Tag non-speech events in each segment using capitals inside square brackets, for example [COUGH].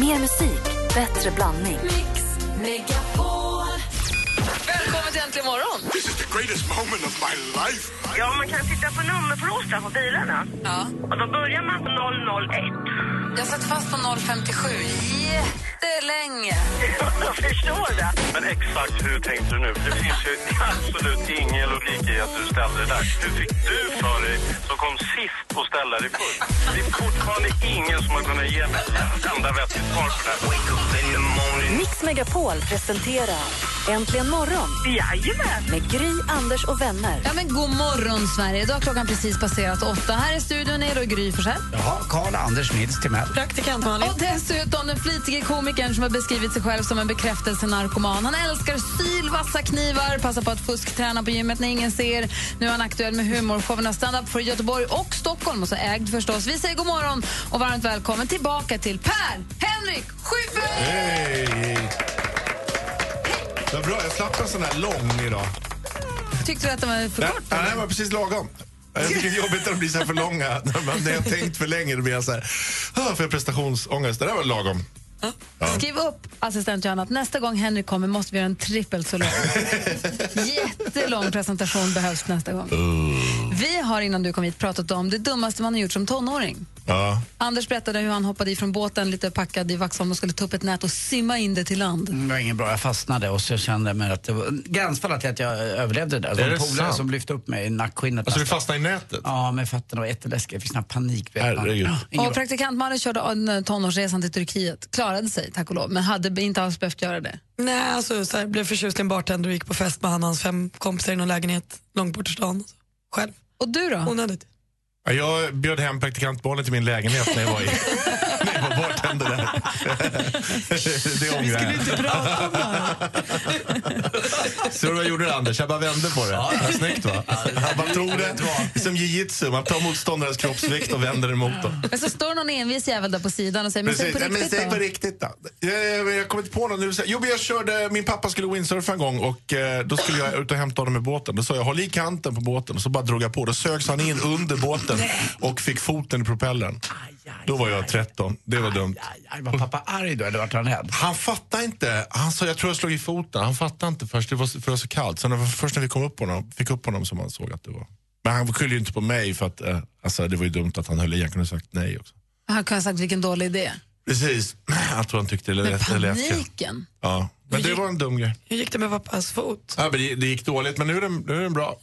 Mer musik, bättre blandning. Mix Megapol. Välkommen till Äntligen morgon! This is the greatest moment of my life. Ja, man kan titta på nummerplåtar på bilarna. Ja. Och då börjar man på 001. Jag satt fast på 057 jättelänge. Jag förstår det. Men exakt hur tänkte du nu? För det finns ju absolut ingen logik i att du ställde det där. Hur fick du för dig som kom sist och ställa dig först? Det är fortfarande ingen som har kunnat ge mig ett enda vettigt svar på det här. Wake up in the morning. Mix Megapol presenterar Äntligen morgon Jajamän! med Gry, Anders och vänner. Ja, men god morgon, Sverige. Idag har klockan precis passerat åtta. Här i studion är då Gry Forssell. Jaha, Karl Anders Nils Timell. Och dessutom den flitige komikern som har beskrivit sig själv som en bekräftelsenarkoman. Han älskar syl, vassa knivar, passar på att fuskträna på gymmet när ingen ser. Nu är han aktuell med humorshowerna Stand-up för Göteborg och Stockholm, och så ägd förstås. Vi säger god morgon och varmt välkommen tillbaka till Per Henrik Schyffert! Hej! Vad bra, jag slapp en sån här lång idag. Tyckte du att det var för Nej, kort? nej, det var precis lagom. Jag tycker det är jobbigt när de blir så här för [LAUGHS] långa. När, man, när jag har tänkt för länge då blir jag så här, ah, för prestationsångest. Det där var lagom. Skriv upp, assistent Johanna, att nästa gång Henrik kommer måste vi göra en [LAUGHS] trippelt så lång. Jättelång presentation behövs nästa gång. Vi har innan du kom hit pratat om det dummaste man har gjort som tonåring. Ja. Anders berättade hur han hoppade ifrån båten lite packad i Vaxholm och skulle ta upp ett nät och simma in det till land. Det var inget bra, jag fastnade och så kände jag mig att det var gränsfallet till att jag överlevde det där. Det Är var det en polare sant? som lyfte upp mig i nackskinnet. Alltså du nästan. fastnade i nätet? Ja, med fötterna var jätteläskiga. Jag fick sån här panik. vet man. Herregud. Ja, inget Och bra. praktikant Malin körde en eh, tonårsresan till Turkiet, klarade sig tack och lov, men hade inte alls behövt göra det. Nej, alltså, så här, blev förtjust i en bartender och gick på fest med han och hans fem kompisar i någon lägenhet långt bort i stan. alltså, Själv. Och du då? Onödigt. Ja, Jag bjöd hem praktikantbarnen till min lägenhet när jag [LAUGHS] var, i, när jag var bartender där. det ångrar jag. Bra. Så vad gjorde du Anders? Jag bara vände på det. Ja, snyggt va? Han bara tog det som jujutsu. Man tar motståndarens kroppsvikt och vänder emot dem. Men så står någon envis jävel där på sidan och säger, men säg Precis. Nej, men på riktigt säg på då. riktigt då. Jag, jag kommer inte på någon nu. Jo, men jag körde, min pappa skulle windsurfa en gång och eh, då skulle jag ut och hämta honom med båten. Då sa jag håll i kanten på båten och så bara drog jag på. Då sögs han in under båten och fick foten i propellern. Då var jag 13. Det var dumt. Aj, aj, var pappa arg då eller vart han rädd? Han fattade inte. Han sa jag tror jag slog i foten. Han fattade inte först. Det var för det var så kallt. Sen det var först när vi kom upp honom, fick upp honom som han såg att det var. Men han skyllde ju inte på mig för att eh, alltså, det var ju dumt att han höll i. Han kunde ha sagt nej också. Han kunde ha sagt vilken dålig idé. Precis. [CLEARS THROAT] Jag tror han tyckte det Men lät, det lät kallt. paniken. Ja, men det var en dum grej. [LAUGHS] Hur gick det med pappas fot? Ja, men det, det gick dåligt, men nu är den, nu är den bra.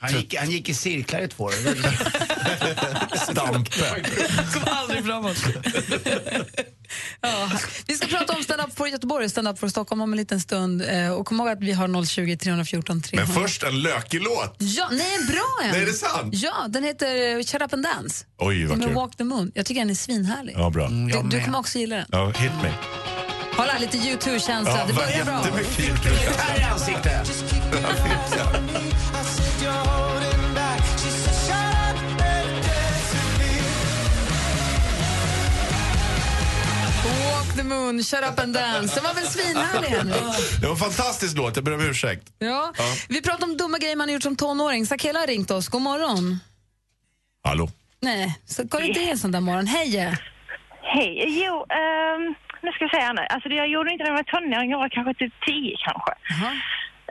Han gick, han gick i cirklar [LAUGHS] i två år. Stampe. Kom aldrig framåt. Ja. Vi ska prata om stand-up för Göteborg och stand-up för Stockholm om en liten stund. Eh, Och kom ihåg att vi har 020 314 Men 300. först en lökig låt. Ja, nej, en bra en! Nej, är det sant? Ja, den heter eh, Shut Up and Dance. Oj, vad Med kul. Walk the Moon. Jag tycker den är svinhärlig. Ja, bra. Du, jag du med. kommer också gilla den. Ja, hit me. Kolla, lite U2-känsla. Ja, det vad börjar bra. jättemycket YouTube. Här i ansiktet! Walk the Moon, Shut Up and Dance. Den var väl svinhärlig, Henrik? Det var en fantastisk låt, jag ber om ursäkt. Ja. Vi pratar om dumma grejer man har gjort som tonåring. Sakela har ringt oss. God morgon. Hallå? Nej, så går det inte en sån där morgon. Hej! Hej. Jo, ehm, nu ska jag säga nu. Alltså, det jag gjorde inte när jag var tonåring. Jag var kanske typ 10 kanske. Jaha.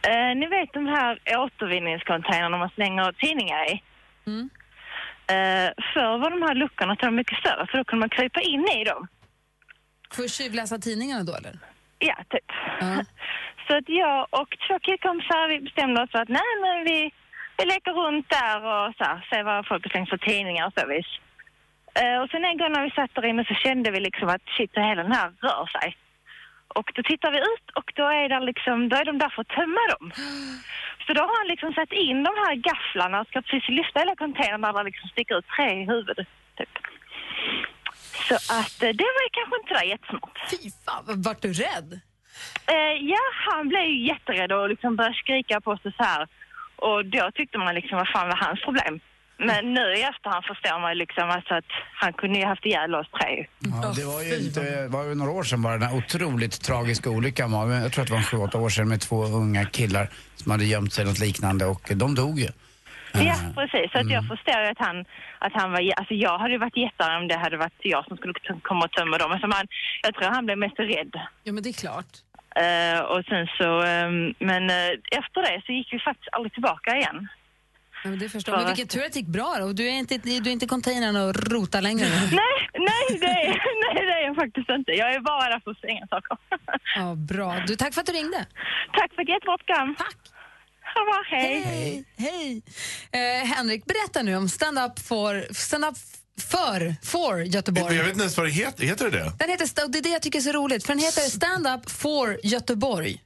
Eh, ni vet de här återvinningscontainrarna man slänger tidningar i? Mm. Eh, förr var de här luckorna till dem mycket större för då kunde man krypa in i dem. Får tjuvläsa tidningarna då, eller? Ja, typ. Ja. [LAUGHS] Så att jag och två killkompisar vi bestämde oss för att nej men vi, vi leker runt där och så här, ser vad folk har slängt för tidningar och så vis. Eh, och sen en gång när vi satt där inne så kände vi liksom att shit, hela den här rör sig. Och då tittar vi ut och då är, där liksom, då är de där för att tömma dem. Så då har han liksom satt in de här gafflarna och ska precis lyfta hela containern där det liksom sticker ut tre huvud. Typ. Så att eh, det var ju kanske inte där jättesmart. Fy fan, vad- vart du rädd? Eh, ja, han blev ju jätterädd och liksom började skrika på oss och så här. Och då tyckte man liksom, vad fan var hans problem? Men nu i efterhand förstår man ju liksom alltså att han kunde ju haft ihjäl oss tre. Ja, det var ju inte, var ju några år sedan bara den här otroligt tragiska olyckan var. Men Jag tror att det var sju, åtta år sedan med två unga killar som hade gömt sig i något liknande och de dog ju. Ja, precis. Så att jag förstår ju att han, att han var... Alltså jag hade ju varit jättearg om det hade varit jag som skulle t- komma och tömma dem. Alltså man, jag tror han blev mest rädd. Ja, men det är klart. Eh, och sen så... ehm, men eh, efter det så gick vi faktiskt aldrig tillbaka igen. Ja, men det förstår jag. Men vilken tur att det gick bra då. Du är inte, du är inte i containern och rotar längre. [LAUGHS] Nej, nej det, är, [LAUGHS] nej, det är jag faktiskt inte. Jag är bara där för att slänga saker. Ja, bra. Du, tack för att du ringde. Tack för ett jättebra program. Tack. Ha det bra, hej. Hej. Hej. Eh, Henrik, berätta nu om stand-up for, stand up för, for Göteborg. Jag vet inte ens vad det heter. Heter det det? Den heter, sta- och det är det jag tycker är så roligt, för den heter stand-up for Göteborg.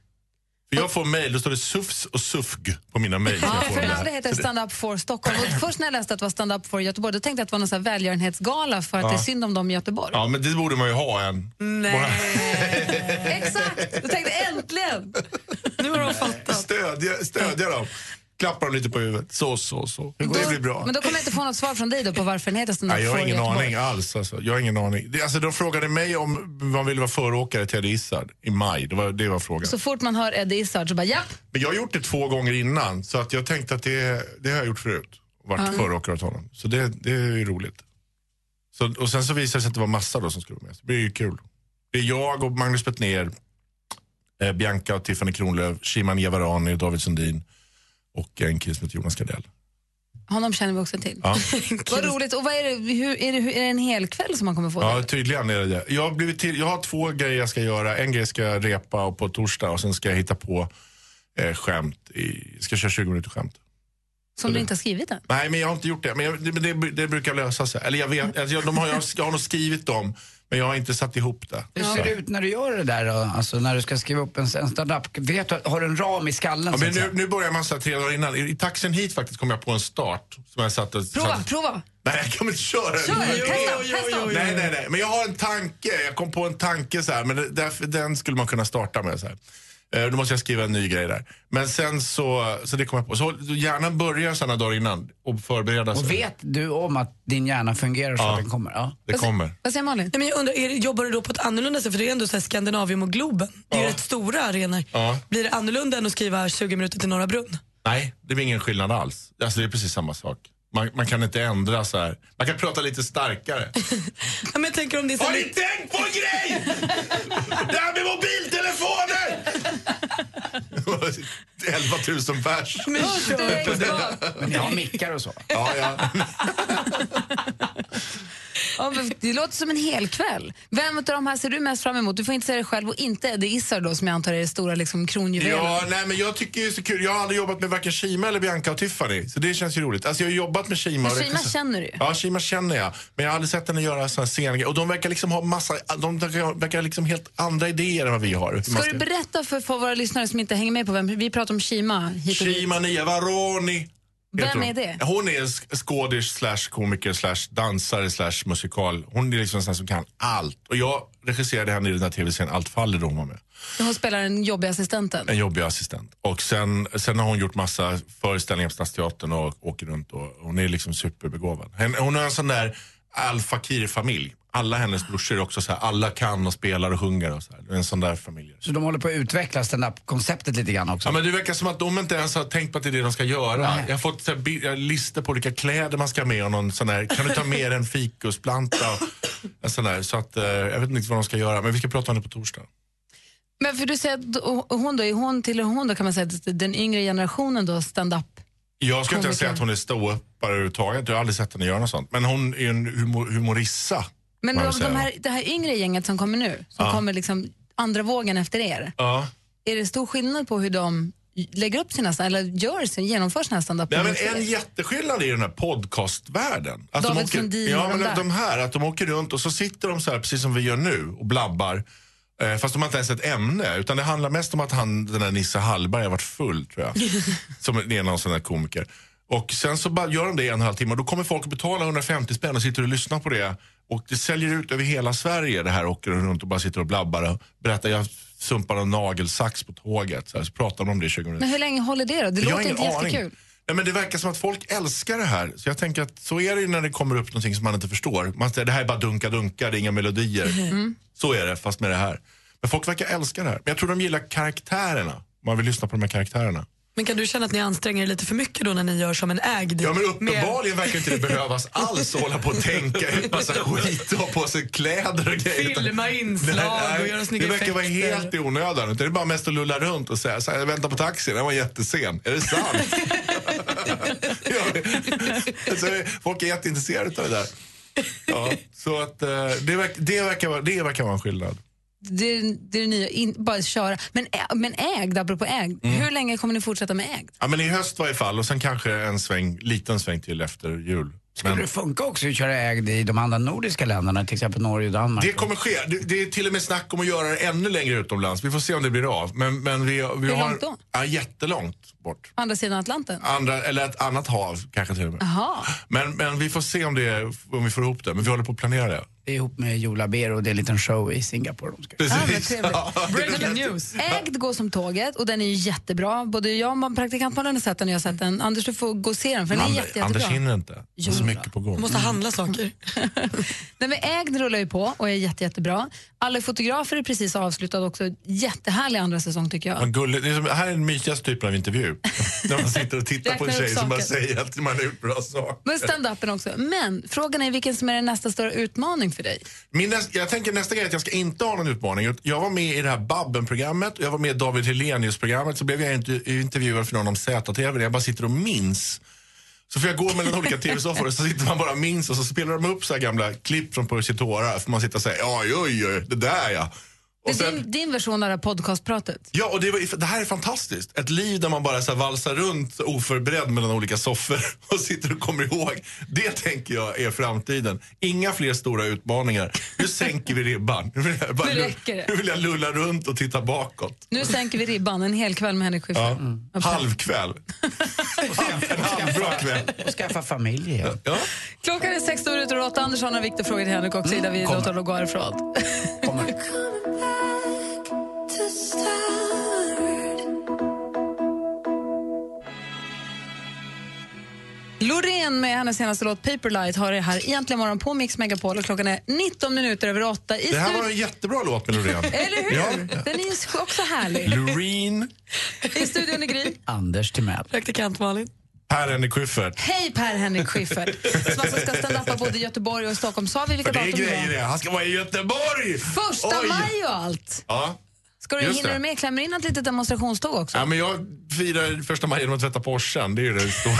För jag får mejl, då står det SUFS och SUFG på mina mejl. som Ja, jag får för den där. andra heter Stand Up for Stockholm. Och först när jag läste att det var Stand Up for Göteborg då tänkte jag att det var någon sån här välgörenhetsgala för att det är synd om dem i Göteborg. Ja, men det borde man ju ha en. Nej. Exakt! Jag tänkte äntligen! Nu har de fattat. Stödja, stödja dem. Klappa dem lite på huvudet. Så, så, så. Det Då- blir bra. Men då kommer jag inte få något svar från dig då på varför den heter Stand Up Nej, jag har for ingen Mm. Göteborg. aning alls. Alltså. Jag har ingen aning. Det, alltså, de frågade mig om man ville vara föråkare till Eddie Izzard i maj. Det var, det var frågan. Så fort man hör Eddie Izzard så bara ja, Men jag har gjort det två gånger innan, så att jag tänkte att det, det har jag gjort förut. Varit föråkare åt honom. Så det, det är ju roligt. Så, och sen så visade det sig att det var massa då som skulle vara med. Så det blir ju kul. Det är jag och Magnus Bettner, eh, Bianca och Tiffany Kronlöf, Shiman Yavarani och David Sundin och en kille som heter Jonas Gardell. honom känner vi också till. Ja. [LAUGHS] Vad roligt. Och vad är det, hur, är, det, hur, är det en hel kväll som man kommer få? Ja, tydligen är det det. Jag har, blivit till, jag har två grejer jag ska göra. En grej ska jag repa och på torsdag och sen ska jag hitta på eh, skämt. I, ska köra 20 minuter skämt. som du inte har skrivit än? Nej, men jag har inte gjort det. Men jag, det, men det, det brukar lösa sig. Eller jag vet, alltså jag, de har, jag, jag har nog skrivit dem, men jag har inte satt ihop det. Hur ser det ut när du gör det där då? Alltså när du ska skriva upp en, en standup? Vet du, har du en ram i skallen? Ja, så men att nu, säga? nu börjar man så här tre dagar innan. I, I taxin hit faktiskt kom jag på en start. Som jag satt och, Prova, satt, prova! Nej, jag kommer inte köra den. Kör, testa, testa! Nej, nej, nej. Men jag har en tanke. Jag kom på en tanke så här, men det- därför, den skulle man kunna starta med. Så här. Eh, Då måste jag skriva en ny grej där. Men sen så, så det kom jag på. Så hjärnan börjar sådana dagar innan och förbereda sig. Och vet du om att din hjärna fungerar så Alltså- Ja. att den kommer? Ja. Det kommer. Vad säger Malin? Nej, men jag undrar, är det, jobbar du då på ett annorlunda sätt? För det är ju ändå så här Skandinavium och Globen. Det är ju Ja. rätt stora arenor. Ja. Blir det annorlunda än att skriva 20 minuter till Norra Brunn? Nej, det blir ingen skillnad alls. Alltså, det är precis samma sak. Man, man kan inte ändra så här. Man kan prata lite starkare. Ja, men jag tänker om det är så Har här- ni tänkt på en grej? Det här med mobiltelefoner! 11 000 pers. [LAUGHS] Men [LAUGHS] kör. Men ni har mickar och så? Ja, ja. Ja, men det låter som en hel kväll. Vem av de här ser du mest fram emot? Du får inte säga det själv och inte Eddie Izzard då, som jag antar är det stora liksom, kronjuvelen. ja nej, men jag tycker det är så kul. Jag har aldrig jobbat med varken Shima eller Bianca och Tiffany. Så det känns ju roligt. Alltså, jag har jobbat med Shima. och Men Shima regissör- känner du ju. Ja, Shima känner jag. Men jag har aldrig sett henne göra såna här scengrejer. Och de verkar liksom ha massa, de verkar liksom helt andra idéer än vad vi har. Ska du berätta för, för våra lyssnare som inte hänger med på vem vi pratar om Shima hit och dit. Shima Niavaroni. Vem heter hon. är det? Hon är en sk- skådis slash komiker slash dansare slash musikal. Hon är liksom en sån som kan allt. Och jag regisserade henne i den här tv-serien Allt faller då hon var med. Hon spelar den jobbiga assistenten. En jobbig assistent. Och sen, sen har hon gjort massa föreställningar på Stadsteatern och åker runt och hon är liksom superbegåvad. Hen- Hon har en sån där Al Fakir-familj. Alla hennes brorsor är också så här, alla kan och spelar och sjunger och så här. En sån där familj. Så de håller på att utveckla standup-konceptet lite grann också? Ja, men det verkar som att de inte ens har tänkt på att det är det de ska göra. Jag har fått så här, bi- listor på olika kläder man ska ha med och någon sån här, kan du ta med en fikusplanta? Och en sån där. Så att, eh, jag vet inte vad de ska göra, men vi ska prata om det på torsdag. Men för du säger att då- hon då, är hon till hon då kan man säga att den yngre generationen då stand-up. Jag skulle inte ens säga Komiker. att hon är ståuppare överhuvudtaget. Jag har aldrig sett henne göra något sånt. Men hon är en humor, humorissa. Men får de, man de säga. här, det här yngre gänget som kommer nu, som kommer liksom andra vågen efter er. Ja. Är det stor skillnad på hur de lägger upp sina, eller gör sin, genomför sina stand-up? Nej, men en jätteskillnad är ju den här podcastvärlden. Att David åker, Sundin och ja, de men där. att de här, att de åker runt och så sitter de så här precis som vi gör nu och blabbar. Eh, fast de har inte ens ett ämne. Utan det handlar mest om att han, den där Nisse Hallberg har varit full tror jag. [LAUGHS] som det är någon sån här komiker. Och sen så bara gör de det i en och en halv timme och då kommer folk att betala 150 spänn och sitter och lyssnar på det. Och det säljer ut över hela Sverige det här åker de runt och bara sitter och blabbar och berättar. Jag sumpar en nagelsax på tåget. Så, här, så pratar de om det i 20 minuter. men hur länge håller det då? Det Jag har låter ingen inte jättekul. Nej, men det verkar som att folk älskar det här. Så jag tänker att så är det ju när det kommer upp någonting som man inte förstår. Man säger det här är bara dunka-dunka, det är inga melodier. Mm. Så är det, fast med det här. Men folk verkar älska det här. Men jag tror de gillar karaktärerna. Man vill lyssna på de här karaktärerna. [LAUGHS] Men kan du känna att ni anstränger er lite för mycket då när ni gör som en ägd? Ja, men med- uppenbarligen verkar inte det [LAUGHS] behövas alls att hålla på och tänka ut massa skit och ha på sig kläder och grejer. utan- Filma inslag och göra snygga Det verkar vara effekter. helt i onödan. utan Det är bara mest att lulla runt och säga så här, jag väntar på taxin, den var jättesen. Är det [LAUGHS] sant? Ja, men- alltså, folk är jätteintresserade av det där. Ja, så att, eh, det, verk, det, verkar, vara- det verkar vara en skillnad. Det, är- det är det nya, in, bara köra. Men, ä- men ägd, apropå ägd, Mm. hur länge kommer ni fortsätta med ägd? Ja, men I höst i varje fall och sen kanske en sväng, liten sväng till efter jul. Skulle det funka också att köra ägd i de andra nordiska länderna, till exempel Norge och Danmark? Det kommer ske. Det, det är till och med snack om att göra det ännu längre utomlands. Vi får se om det blir av. Men, men vi, vi Hur har, långt då? Ja, jättelångt bort. På andra sidan Atlanten? Andra, eller ett annat hav kanske till och med. Jaha. Men, men vi får se om, det, om vi får ihop det. Men vi håller på att planera det. Det är ihop med Jola Bero och det är en liten show i Singapore. De ska. Ja, men trevligt. Breaking news. Ägd går som tåget och den är ju jättebra. Både jag och praktikant Malin har sett den och jag har sett den. Anders, du får gå och se den för den är Ander- jätte, Anders jättebra. hinner inte. Det är så Jo då. mycket på gång. Måste handla saker. Nej, men ägd rullar ju på och är jätte, jättebra. Alla fotografer är precis avslutad också. Jättehärlig andra säsong tycker jag. Vad gulligt. Mm. Det är som, här är den mysigaste typen av intervju. [LAUGHS] När man sitter och tittar på en Räknar upp tjej som bara saker. säger att man har gjort bra saker. Men stand-upen också. Men frågan är vilken som är nästa stora utmaning för dig? Min näst, jag tänker nästa grej är att jag ska inte ha någon utmaning. Jag var med i det här Babben-programmet och jag var med i David Hellenius-programmet. Så blev jag inte intervjuad för någon om ZTV där jag bara sitter och minns. Så får jag gå mellan olika tv-soffor och så sitter man bara och minns och så spelar de upp så här gamla klipp från Percy Tora. Får man sitta och säga oj, oj, oj, det där ja. Det Och är sen, din, din version av det här podcastpratet. ja, och det, var, det här är fantastiskt. Ett liv där man bara så här valsar runt oförberedd mellan olika soffor [LAUGHS] och sitter och kommer ihåg. Det tänker jag är framtiden. Inga fler stora utmaningar. Nu sänker vi ribban. Nu vill jag, bara, Nu räcker det. nu vill jag lulla runt och titta bakåt. Nu sänker vi ribban en hel kväll med Henrik Schyffert. Ja. Mm. Halvkväll. en halvbra kväll. Och skaffa familj igen. Ja. Klockan är sex minuter över åtta. Anders har några viktiga frågor till Henrik också Mm, innan vi låter honom gå härifrån. [LAUGHS] Loreen med hennes senaste låt Paperlight har det här egentligen morgon på Mix Megapol och klockan är 19 minuter över åtta. I Det här stu- var en jättebra låt med Loreen. [LAUGHS] Eller hur? Ja. Den är ju också härlig. Loreen. I studion är Gry. Anders Timell. Praktikant Malin. Här är Henrik Schyffert. Hej Per-Henrik Schyffert, som alltså ska stand-upa både i Göteborg och i Stockholm. Sa vi vilka För det är datum det grejer var? det. Han ska vara i Göteborg! Första Oj. maj och allt. Ja. Ska du, Just hinner det. du med? Klämmer in ett litet demonstrationståg också? Ja, men jag firar första maj genom att tvätta Porschen. Det är ju det [LAUGHS] stora.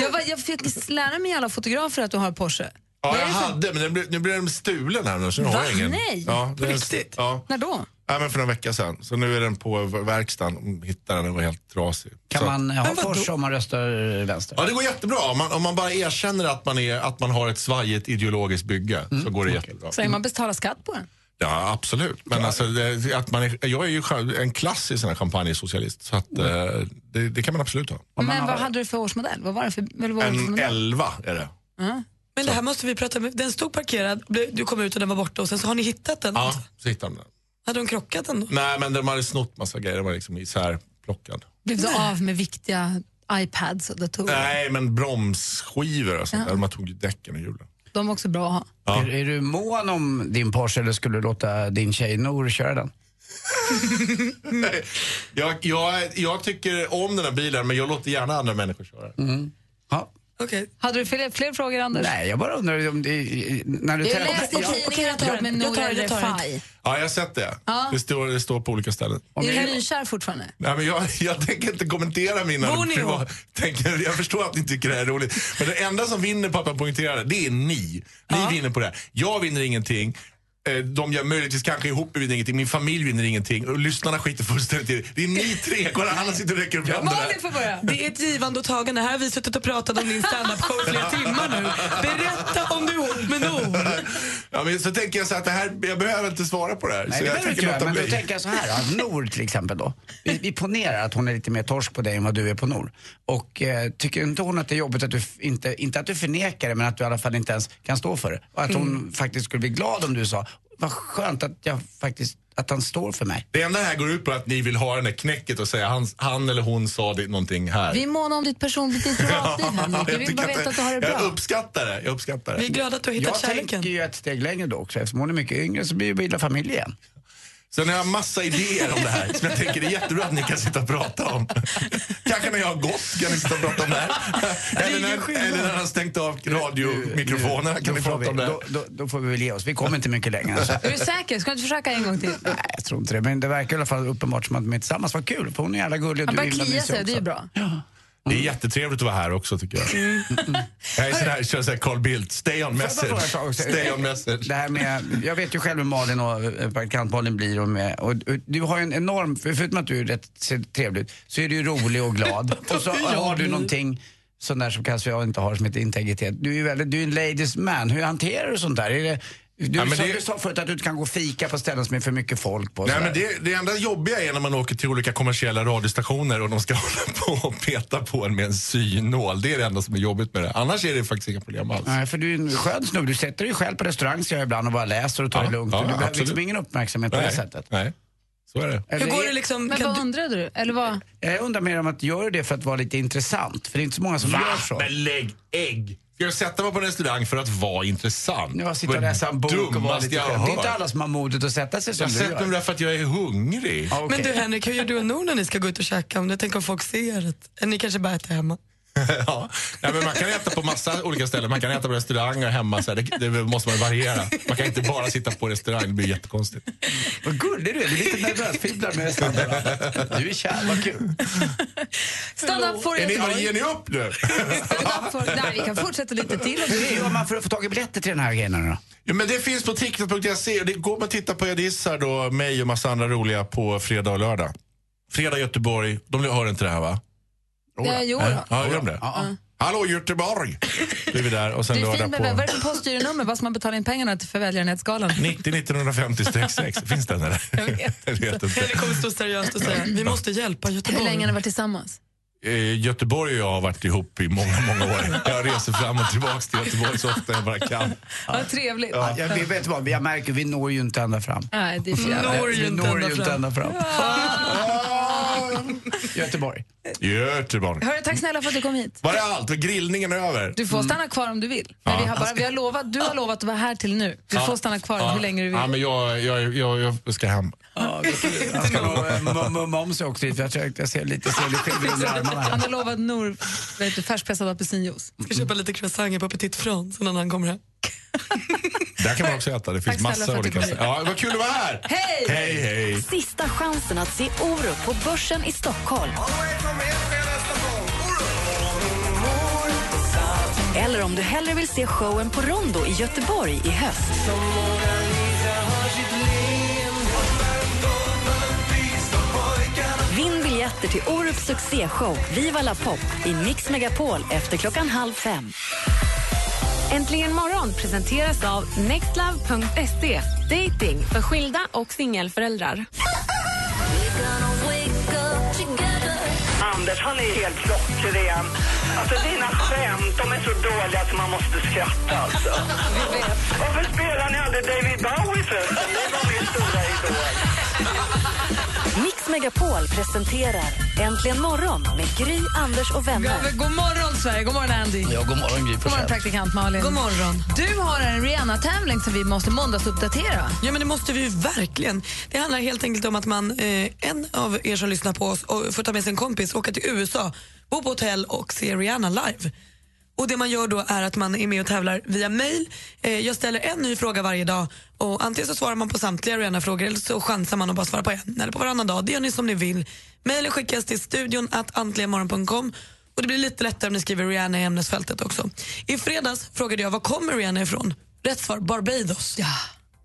Jag, var, jag fick lära mig alla fotografer att du har Porsche. Ja, Vad jag är det för- hade, men den blev, nu blev den stulen här nu. Så nu Va? har jag ingen. Nej, ja, på den- riktigt? Ja. När då? ja, men för några vecka sedan. Så nu är den på verkstaden. Hittade den, den var helt trasig. Kan så. man ha Men vadå? Porsche om man röstar vänster? Ja, det går jättebra. Om man, om man bara erkänner att man, är, att man har ett svajigt ideologiskt bygge så går det jättebra. Mm. Säger man betala skatt på den? Ja, absolut. Men alltså, det, att man är, jag är ju själv en klassisk sån här champagnesocialist. Så att, eh, det, det kan man absolut ha. Om man Mm. Men har- vad hade du för årsmodell? Vad var det för, eller vad var det för En modell? 11 är det. Men det här måste vi prata med. Den stod parkerad, blev- du kom ut och den var borta och sen så har ni hittat den. Ja, så hittar man den. Hade de krockat den då? Nej, men de hade snott massa grejer. De var liksom isärplockad. Blev du av med viktiga iPads och datorer? Nej, men bromsskivor och sånt där. Man tog ju däcken och hjulen. De är också bra att ha. Ja. Är, är du mån om din Porsche eller skulle du låta din tjej Nor köra den? Mm. Jag, jag, jag tycker om den här bilen, men jag låter gärna andra människor köra den. Ja. Okej. Hade du fler, fler frågor, Anders? Nej, jag bara undrar om det... När du Jag tänker- läste i Ja, tidningen att du tar har med den. Jag Nour tar den, jag tar den. Refai. Ja, jag har sett det. Det, står, det står på olika ställen. Är du nykär fortfarande? Nej, men jag, jag tänker inte kommentera Bor mina ni privat, ihop? tänker, Jag förstår att ni tycker det här är roligt. Men det enda som vinner på att man poängterar det, det är ni. Ni vinner på det här. Jag vinner ingenting. Eh, De jag möjligtvis kanske ihop vinner ingenting. Min familj vinner ingenting. Och lyssnarna skiter fullständigt i det. Det är ni tre. Kolla, alla sitter och räcker upp händerna. Malin får börja. Det är ett givande och tagande. Här har vi suttit och pratat om din standup-show i flera timmar nu. Berätta om du är ihop med Nour. [LAUGHS] Ja, men så tänker jag så här att det här, jag behöver inte svara på det här. Nej, så det jag behöver du tänker låta inte göra, men då bli. tänker jag så här. Att Nor till exempel då. Vi, vi ponerar att hon är lite mer torsk på dig än vad du är på Nor. Och eh, tycker inte hon att det är jobbigt att du, f- inte, inte att du förnekar det, men att du i alla fall inte ens kan stå för det. Och att hon Mm. faktiskt skulle bli glad om du sa, vad skönt att jag faktiskt, att han står för mig. Det enda här går ut på att ni vill ha den där knäcket och säga han, han eller hon sa det, någonting här. Vi är måna om ditt personliga ditt privatliv, Henrik. Vi Jag vill tycker bara veta att du har det Jag bra. uppskattar det. Jag uppskattar det. Vi är glada att du har hittat Jag kärleken. tänker ju ett steg längre då också. Eftersom hon är mycket yngre så blir ju bilda familj igen. Sen har jag massa idéer om det här som jag tänker det är jättebra att ni kan sitta och prata om. Kanske när jag har gått kan ni sitta och prata om det [LAUGHS] här. Eller när, eller när han har stängt av radiomikrofonerna kan då ni får prata om vi, det här. då, mm. då, då får vi väl ge oss. Vi kommer inte mycket längre. än Så. Är du säker? Ska du inte försöka en gång till? Nej, jag tror inte det. Men det verkar i alla fall uppenbart som att de är tillsammans. Vad kul, för hon är jävla gullig och Han du är börjar himla klia mysig sig och det är ju också. bra. Det är jättetrevligt att vara här också tycker jag. Jag är sån här, kör såhär Carl Bildt, stay on Mm. Får jag bara fråga message. en sak också? Stay on message. Det här med, jag vet ju själv hur Malin och eh, praktikant Malin blir. Och med, och, och, du har ju en enorm, för- förutom att du är rätt ser trevlig ut, så är du ju rolig [LAUGHS] och glad. och så har du någonting sån där som kanske jag inte har som heter integritet. Du är ju väldigt, du är en ladies man. Hur hanterar du sånt där? Är det, du, Ja, men sa, det- du sa förut att du inte kan gå och fika på ställen som är för mycket folk på. och Nej, sådär. men det, det enda jobbiga är när man åker till olika kommersiella radiostationer och de ska [LAUGHS] hålla på och peta på en med en synål. Det är det enda som är jobbigt med det. Annars är det faktiskt inga problem alls. Nej, för du är en skön snubbe. Du sätter dig själv på restaurang ser jag ibland och bara läser och tar Ja, det lugnt. ja, du behöver absolut. liksom ingen uppmärksamhet på det sättet. nej. Så är det. Eller Hur går är- det liksom? Men Kan vad du, undrade du? Eller vad? Jag undrar mer om att gör det för att vara lite intressant. För det är inte så många som gör så. Men lägg ägg! Ska jag sätta mig på en restaurang för att vara intressant? Nu har jag sitter Vad och läser en bok och vara dummaste lite jag har skön. Det är inte hört. alla som har modet att sätta sig som Jag du gör. sätter mig där för att jag är hungrig. Ja, okej. men du Henrik, hur gör du och Nor när ni ska gå ut och käka? Om du tänker om folk ser det? Eller Ni kanske bara äter hemma? [LAUGHS] Ja. Nej, men man kan äta på massa olika ställen. Man kan äta på restaurang och hemma. Så här. Det, det måste man variera. Man kan inte bara sitta på restaurang. Det blir jättekonstigt. Vad gullig du är. Du är lite nervös. Fibblar med standarden. Du är kär. Vad kul. Stand up for Är ni, Göteborg. ger ni upp nu? Stand up for... Nej, vi kan fortsätta lite till. om du Hur vill. gör man för att få tag i biljetter till den här grejen nu då? Ja, men det finns på ticket.se. och Det går man titta på. Jag dissar då mig och massa andra roliga på fredag och lördag. Fredag Göteborg. De hör inte det här va? Eh, Jo då. Mm. Ja, gör de det? Ja, ja. Hallå Göteborg! Då är vi där. Och sen Det är lördag fint med vad på är det för postgironummer? Vad ska man betala in pengarna till för välgörenhetsgalan? 90 1950 6 Finns den eller? [LAUGHS] Jag vet vet inte. Henrik kommer stå seriöst och säga, vi måste hjälpa Göteborg. Hur länge har ni varit tillsammans? Eh, Göteborg och jag har varit ihop i många, många år. Jag reser fram och tillbaka till Göteborg så ofta jag bara kan. Vad trevligt. Ja, jag vet- vet du vad, jag märker vi når ju inte ända fram. Nej, det är för jävla- Når ju vi inte når ju ända inte fram. ända fram. Göteborg. Göteborg. Hörru, tack snälla för att du kom hit. Var det allt? Var grillningen över? Du får stanna kvar om du vill. Men vi har bara, vi har lovat, du har lovat att vara här till nu. Du får stanna kvar hur länge du vill. Ja, men jag, jag, jag, jag ska hem. Ja, Göteborg. Han ska nog eh, mum- mumma om sig också. Jag tror att jag ser lite silverskivor [LAUGHS] under armarna här. Han har lovat Nor vet du, färskpressad apelsinjuice. Ska köpa lite croissanter på Petit France innan han kommer hem. Där kan man också äta. Det finns Tack snälla för massa att olika du kom ställen. Ja, vad kul att vara här! Hej! Hej, hej! Sista chansen att se Orup på Börsen i Stockholm. Eller om du hellre vill se showen på Rondo i Göteborg i höst. Vinn biljetter till Orups succéshow Viva La Pop i Mix Megapol efter klockan halv fem. Äntligen morgon presenteras av nextlove.se. Dating för skilda och singelföräldrar. Anders, han är helt klockren. Alltså dina skämt, de är så dåliga att man måste skratta alltså. Varför spelar ni aldrig David Bowie förresten? Det var min stora idol. Mix Megapol presenterar Äntligen morgon med Gry, Anders och Ja, vänner. men god morgon, Sverige. God morgon, Andy. Ja, god morgon Gry God morgon, praktikant Malin. God morgon. Du har en Rihanna-tävling som vi måste måndagsuppdatera. Ja, men det måste vi ju verkligen. Det handlar helt enkelt om att man, eh, en av er som lyssnar på oss och får ta med sin kompis, åka till USA, bo på hotell och se Rihanna live. Och Det man gör då är att man är med och tävlar via mail. Eh, jag ställer en ny fråga varje dag och antingen så svarar man på samtliga Rihanna-frågor eller så chansar man och bara svarar på en eller på varannan dag. Det gör ni som ni vill. Mailen skickas till studion att antligenmorgon.com och det blir lite lättare om ni skriver Rihanna i ämnesfältet också. I fredags frågade jag var kommer Rihanna ifrån? Rätt svar Barbados. Ja,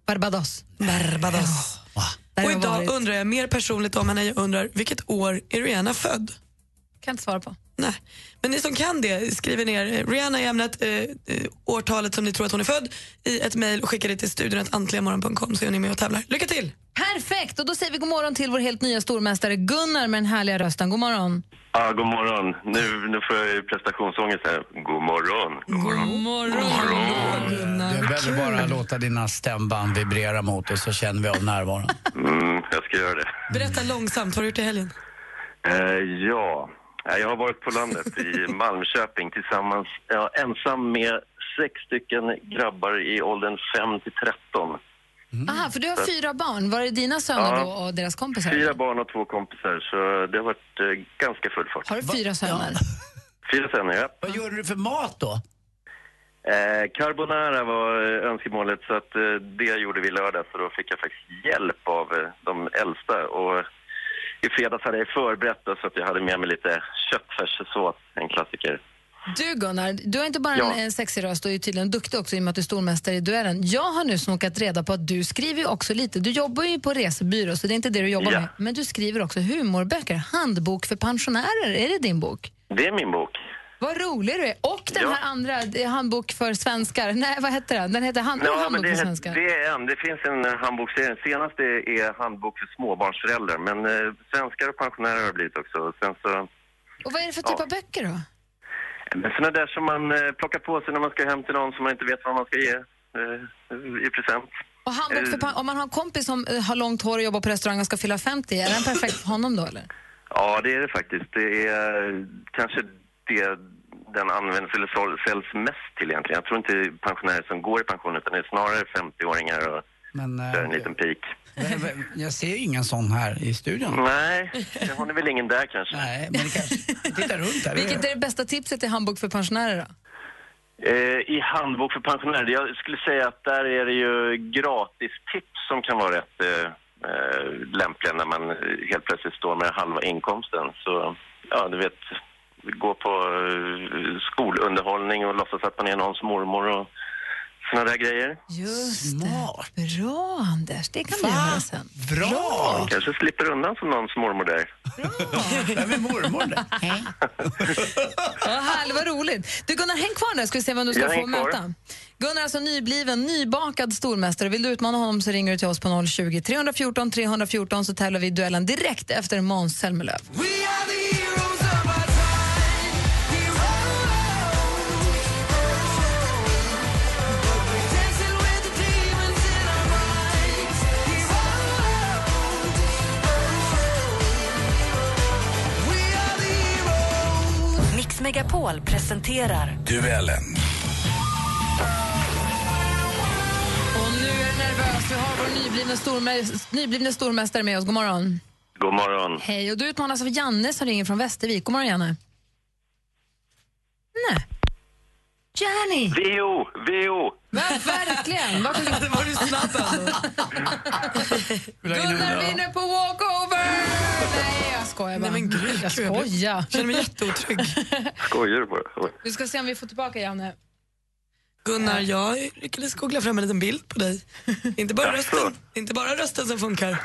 Barbados. Barbados. Där Och har jag idag varit. undrar jag mer personligt om henne. Jag undrar vilket år är Rihanna född? Kan inte svara på. Nej. Men ni som kan det, skriver ner eh, Rihanna i ämnet, eh, eh, årtalet som ni tror att hon är född i ett mejl och skickar det till studion antligenmorgon.com så är ni med och tävlar. Lycka till! Perfekt! Och då säger vi god morgon till vår helt nya stormästare Gunnar med den härliga rösten. God morgon. Ja, god morgon. Nu, nu får jag ju prestationsångest här. God morgon. God morgon. morgon. Du behöver bara låta dina stämband vibrera mot oss så känner vi av närvaron. Mm, jag ska göra det. Berätta långsamt, vad har du gjort i helgen? Eh, ja, Eh, jag har varit på landet [LAUGHS] i Malmköping tillsammans, ja, ensam med sex stycken grabbar i åldern 5 till 13. Aha, för du har fyra barn. Var det dina söner Ja. då och deras kompisar? Fyra barn och två kompisar, så det har varit eh, ganska full fart. Har du fyra söner? Fyra söner, ja. Vad gör du för mat då? Eh, carbonara var eh, önskemålet, så att eh, det gjorde vi i lördags. Så då fick jag faktiskt hjälp av eh, de äldsta. Och i fredags hade jag förberett det, så att jag hade med mig lite köttfärssås, en klassiker. Du Gunnar, du har inte bara Ja. en eh, sexig röst, du är ju tydligen duktig också i och med att du är stormästare i duellen. Jag har nu snokat reda på att du skriver ju också lite, du jobbar ju på resebyrå så det är inte det du jobbar Ja. med, men du skriver också humorböcker, handbok för pensionärer, är det din bok? Det är min bok. Vad rolig du är! Och den Ja. här andra, det är handbok för svenskar, nej vad heter den? Den heter hand- Ja, men handbok det, för svenskar. det är en. Det finns en eh, handboksserie. Den senaste är handbok för småbarnsföräldrar. Men eh, svenskar och pensionärer har det blivit också. Sen så, Och vad är det för typ Ja. av böcker då? men såna där som man eh, plockar på sig när man ska hem till någon som man inte vet vad man ska ge eh, i present. Och handbok för, Eh. pen- om man har en kompis som eh, har långt hår och jobbar på restaurang och ska fylla 50, är den perfekt för honom då eller? Eh, Ja, det är det faktiskt. Det är eh, kanske det den används eller sål- säljs mest till egentligen. Jag tror inte pensionärer som går i pension utan det är snarare 50-åringar och Men, eh, kör en liten pik. jag, jag ser ju ingen sån här i studion. Nej, det har ni väl ingen där kanske? Nej, men det kanske... [LAUGHS] Titta runt här. Vilket är det bästa tipset i handbok för pensionärer då? Eh, I handbok för pensionärer, jag skulle säga att där är det ju gratistips som kan vara rätt eh, eh, lämpliga när man eh, helt plötsligt står med halva inkomsten. Så, ja, du vet, gå på eh, skolunderhållning och låtsas att man är någons mormor och såna där grejer. Just Smart. det. Bra, Anders. Det kan vi göra sen. Bra! Kanske slipper undan som någons mormor där. Vem är mormor där? Vad härligt, vad roligt. Du Gunnar, häng kvar där ska vi se vem du ska Jag få hänger kvar. möta. Gunnar är alltså nybliven, nybakad stormästare. Vill du utmana honom så ringer du till oss på 020 314 314 så tävlar vi i duellen direkt efter Måns Zelmerlöw. Mix Megapol presenterar Duellen. Och nu är det nervöst. Vi har vår nyblivna, stormä- nyblivna stormästare med oss. God morgon. God morgon. Hej, och du utmanas av Janne som ringer från Västervik. God morgon Janne. Nej. Janni! VO, VO! Men verkligen! Vad sjukt. Var du snabb ändå? [LAUGHS] Gunnar vinner på walkover! Nej, jag skojar bara. Nej, men gud, jag gud, jag blir- skojar. känner mig jätteotrygg. Skojar du bara? Oj. Vi ska se om vi får tillbaka Janne. Gunnar, jag lyckades googla fram en liten bild på dig. Inte bara rösten, inte bara rösten som funkar.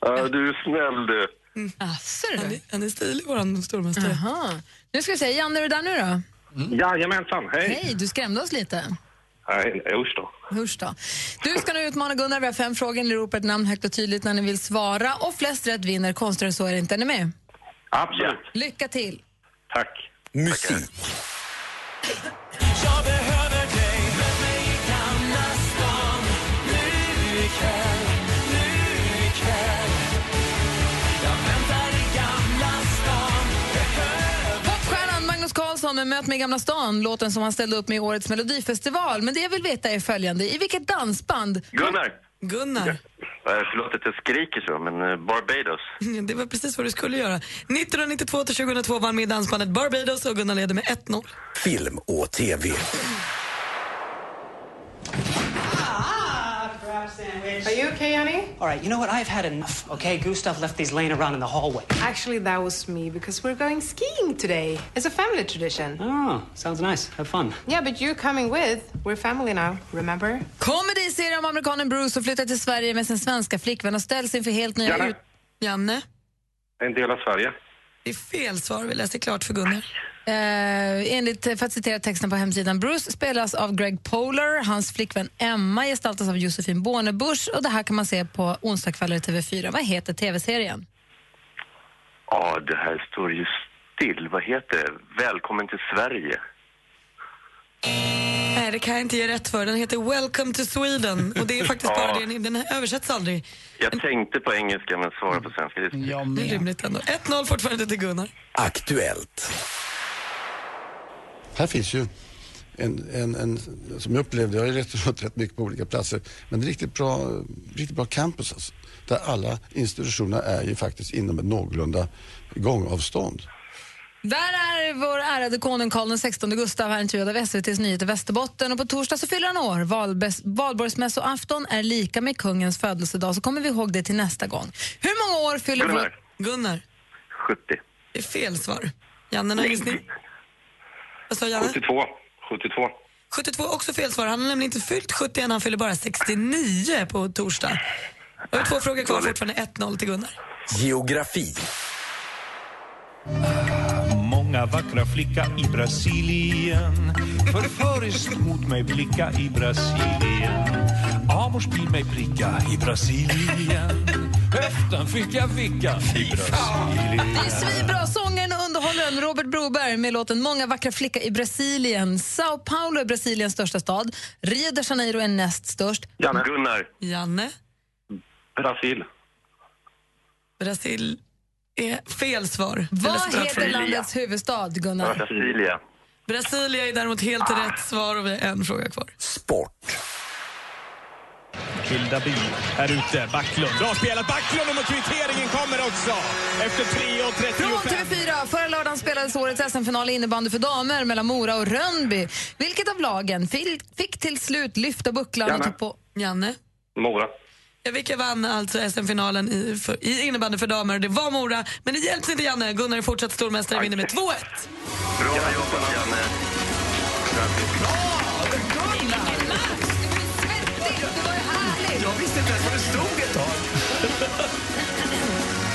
Ja, du är snäll du. Mm. Asså Han är, Ah, du. han är stilig, vår stormästare. Jaha. Nu ska vi se, Janne är du där nu då? Jajamensan, Hej, du skrämde oss lite. Hej, usch då. Hörs då. Du ska nu utmana Gunnar. Vi har fem frågor. Ni ropar ett namn högt och tydligt när ni vill svara. Och flest rätt vinner. Konstigare än så är det inte. Är ni med? Absolut. Lycka till! Tack. Musik. Popstjärnan Magnus Carlsson med Möt mig i Gamla stan, låten som han ställde upp med i årets melodifestival. Men det jag vill veta är följande. I vilket dansband Gunnar! Gunnar, Eh, Förlåt att jag skriker så, men eh, Barbados. det var precis vad du skulle göra. 1992 till 2002 vann med i dansbandet Barbados och Gunnar leder med 1-0. Film och TV. Are you okay, honey? All right, you know what? I've had enough, okay? Gustav left these laying around in the hallway. Actually, that was me because we're going skiing today. It's a family tradition. Oh, sounds nice. Have fun. Yeah, but you're coming with. We're family now, remember? Comedy-serie om amerikanen Bruce som flyttar till Sverige med sin svenska flickvän och ställs inför helt nya Janne. ut... Janne, En del av Sverige. det är fel svar. Vi läser klart för Gunnar. Eh, enligt, för att citera texten på hemsidan, Bruce spelas av Greg Polar, hans flickvän Emma gestaltas av Josefin Bornebusch och det här kan man se på onsdagskvällar i TV4. Vad heter tv-serien? Ja, det här står ju still. Vad heter det? Välkommen till Sverige. Nej, det kan jag inte ge rätt för. Den heter Welcome to Sweden och det är faktiskt bara Ja. det. Den översätts aldrig. Jag tänkte på engelska, men svarade på svenska. Det är Jag Det är med. rimligt ändå. 1-0 fortfarande till Gunnar. Aktuellt. Här finns ju en, en, en, som jag upplevde, jag har ju rest runt rätt mycket på olika platser, men det är riktigt bra, riktigt bra campus alltså, där alla institutionerna är ju faktiskt inom ett någorlunda gångavstånd. Där är vår ärade konung Karl XVI Gustav här intervjuad av SVTs Nyheter Västerbotten. Och på torsdag så fyller han år. Valbes- Valborgsmässoafton är lika med kungens födelsedag, så kommer vi ihåg det till nästa gång. Hur många år fyller Gunnar. vår... Gunnar. 70. Det är fel svar. Janne, någon gissning? Vad sa Janne? 72. 72. 72 är också fel svar. Han har nämligen inte fyllt 70 än, han fyller bara 69 på torsdag. Jag har två frågor kvar, fortfarande 1-0 till Gunnar. Geografi. Många vackra flicka i Brasilien Förföriskt mot mig blicka i Brasilien Amors bil mig pricka i Brasilien Höften fick jag vicka i Brasilien Det är svinbra. Sångaren och underhållaren Robert Broberg med låten Många vackra flicka i Brasilien. Sao Paulo är Brasiliens största stad. Rio de Janeiro är näst störst. Janne. Gunnar. Janne? Brasil. Brasil är fel svar. Eller Vad straff- heter landets huvudstad, Gunnar? Ah. Brasilia. Brasilia är däremot helt rätt svar och vi har en fråga kvar. Kilda Bi här ute. Backlund. Bra spelat. Backlund och kvitteringen kommer också. Efter 3.35. Från TV4. Förra lördagen spelades årets SM-final i innebandy för damer mellan Mora och Rönnby. Vilket av lagen fil- fick till slut lyfta bucklan och Janne. ta på... Janne? Mora. Ja, vilka vann alltså SM-finalen i, för, i innebandy för damer? och Det var Mora, men det hjälps inte Janne. Gunnar är fortsatt stormästare och vinner med 2-1. Bra jobbat, Janne. Jag visste inte ens vad det stod ett tag.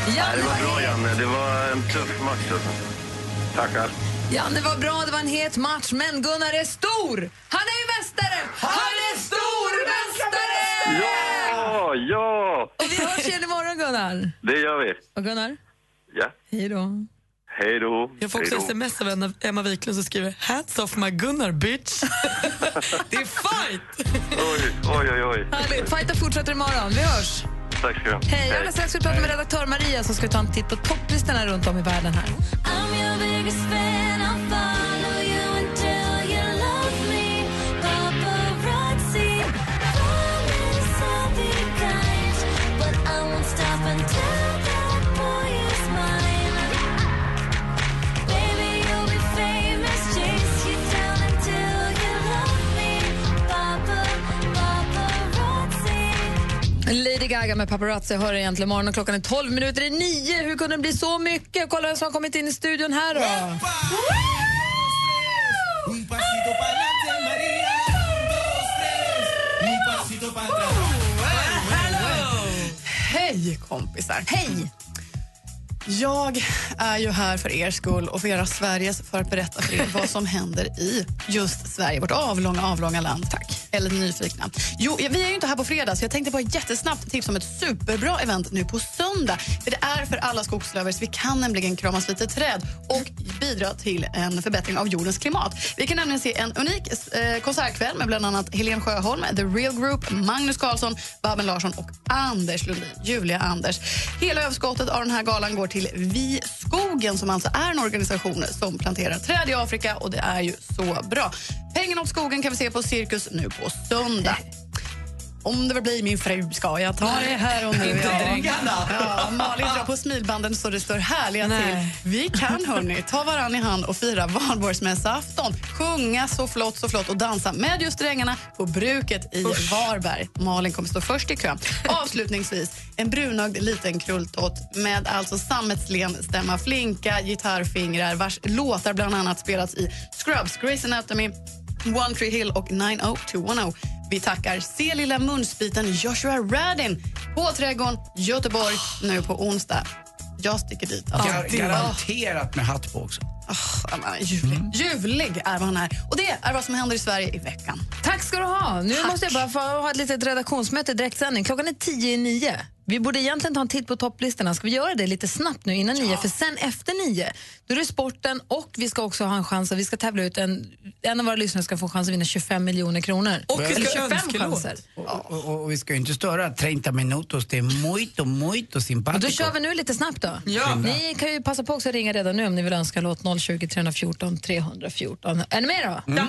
Nej, det var bra, Janne. Det var en tuff match. Alltså. Tackar. Janne var bra, det var en het match, men Gunnar är stor! Han är ju mästare! Han är stormästare! Ja, ja! Och vi hörs igen imorgon, Gunnar. Det gör vi. Och Gunnar, Ja. hej då. Hej då. Jag får också Hej då. sms av en- Emma Wiklund som skriver “Hands off my Gunnar bitch”. [LAUGHS] det är fight! Oj, oj, oj. oj. Härligt. Fighten fortsätter imorgon. Vi hörs. Tack ska du ha. Hej. Alldeles strax ska vi prata med redaktör Maria som ska ta en titt på topplistorna runt om i världen här. Lady Gaga med paparazzi hör egentligen morgon och klockan är 12 minuter i 9. Hur kunde det bli så mycket? Kolla vem som har kommit in i studion här då. Hej kompisar! Hej! Jag är ju här för er skull och för era Sveriges för att berätta för er vad som händer i just Sverige, vårt avlånga, avlånga land. Tack. Eller nyfikna. Jo, vi är ju inte här på fredag så jag tänkte bara jättesnabbt tipsa om ett superbra event nu på söndag. För det är för alla skogslövers. Vi kan nämligen kramas lite träd och bidra till en förbättring av jordens klimat. Vi kan nämligen se en unik eh, konsertkväll med bland annat Helene Sjöholm, The Real Group, Magnus Carlsson, Babben Larsson och Anders Lundin, Julia Anders. Hela överskottet av den här galan går till Vi skogen som alltså är en organisation som planterar träd i Afrika och det är ju så bra. Pengarna åt skogen kan vi se på Cirkus nu på söndag. Om det väl blir min fru ska jag ta det här och nu. Inte drygan då. Ja, Malin drar på smilbanden så det står härliga till. Vi kan hörni, ta varann i hand och fira valborgsmässoafton. Sjunga så flott, så flott och dansa med just drängarna på bruket i Varberg. Malin kommer stå först i kön. Avslutningsvis, en brunögd liten krulltott med alltså sammetslen, stämma flinka, gitarrfingrar vars låtar bland annat spelats i Scrubs, Grey's Anatomy One Tree Hill och 90210. Vi tackar Se lilla munsbiten Joshua Radin på Trädgården Göteborg nu på onsdag. Jag sticker dit. Gar- Garanterat med hatt på också. Mm. Ja, men Ljuvlig. Ljuvlig är vad han är. Och det är vad som händer i Sverige i veckan. Tack ska du ha. Nu måste jag bara få ha ett litet redaktionsmöte i direktsändning. Klockan är tio i nio. Vi borde egentligen ta en titt på topplistorna. Ska vi göra det lite snabbt nu innan nio? För sen efter nio, då är det sporten och vi ska också ha en chans att vi ska tävla ut en, en av våra lyssnare ska få chans att vinna 25 miljoner kronor. Eller 25 chanser. Och, och, och vi ska ju inte störa 30 minutos, det är muito, muito Och simpático. då kör vi nu lite snabbt då. Ja. Ni kan ju passa på också att ringa redan nu om ni vill önska låt 020 314 314. Är ni med då? Mm.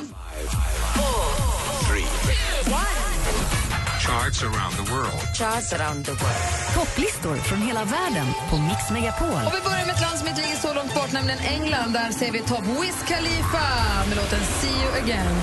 Charts around the world. Topplistor från hela världen på Mix Megapol. Och vi börjar med ett land som inte ligger så långt bort, nämligen England. Där ser vi topp Wiz Khalifa med låten See You Again.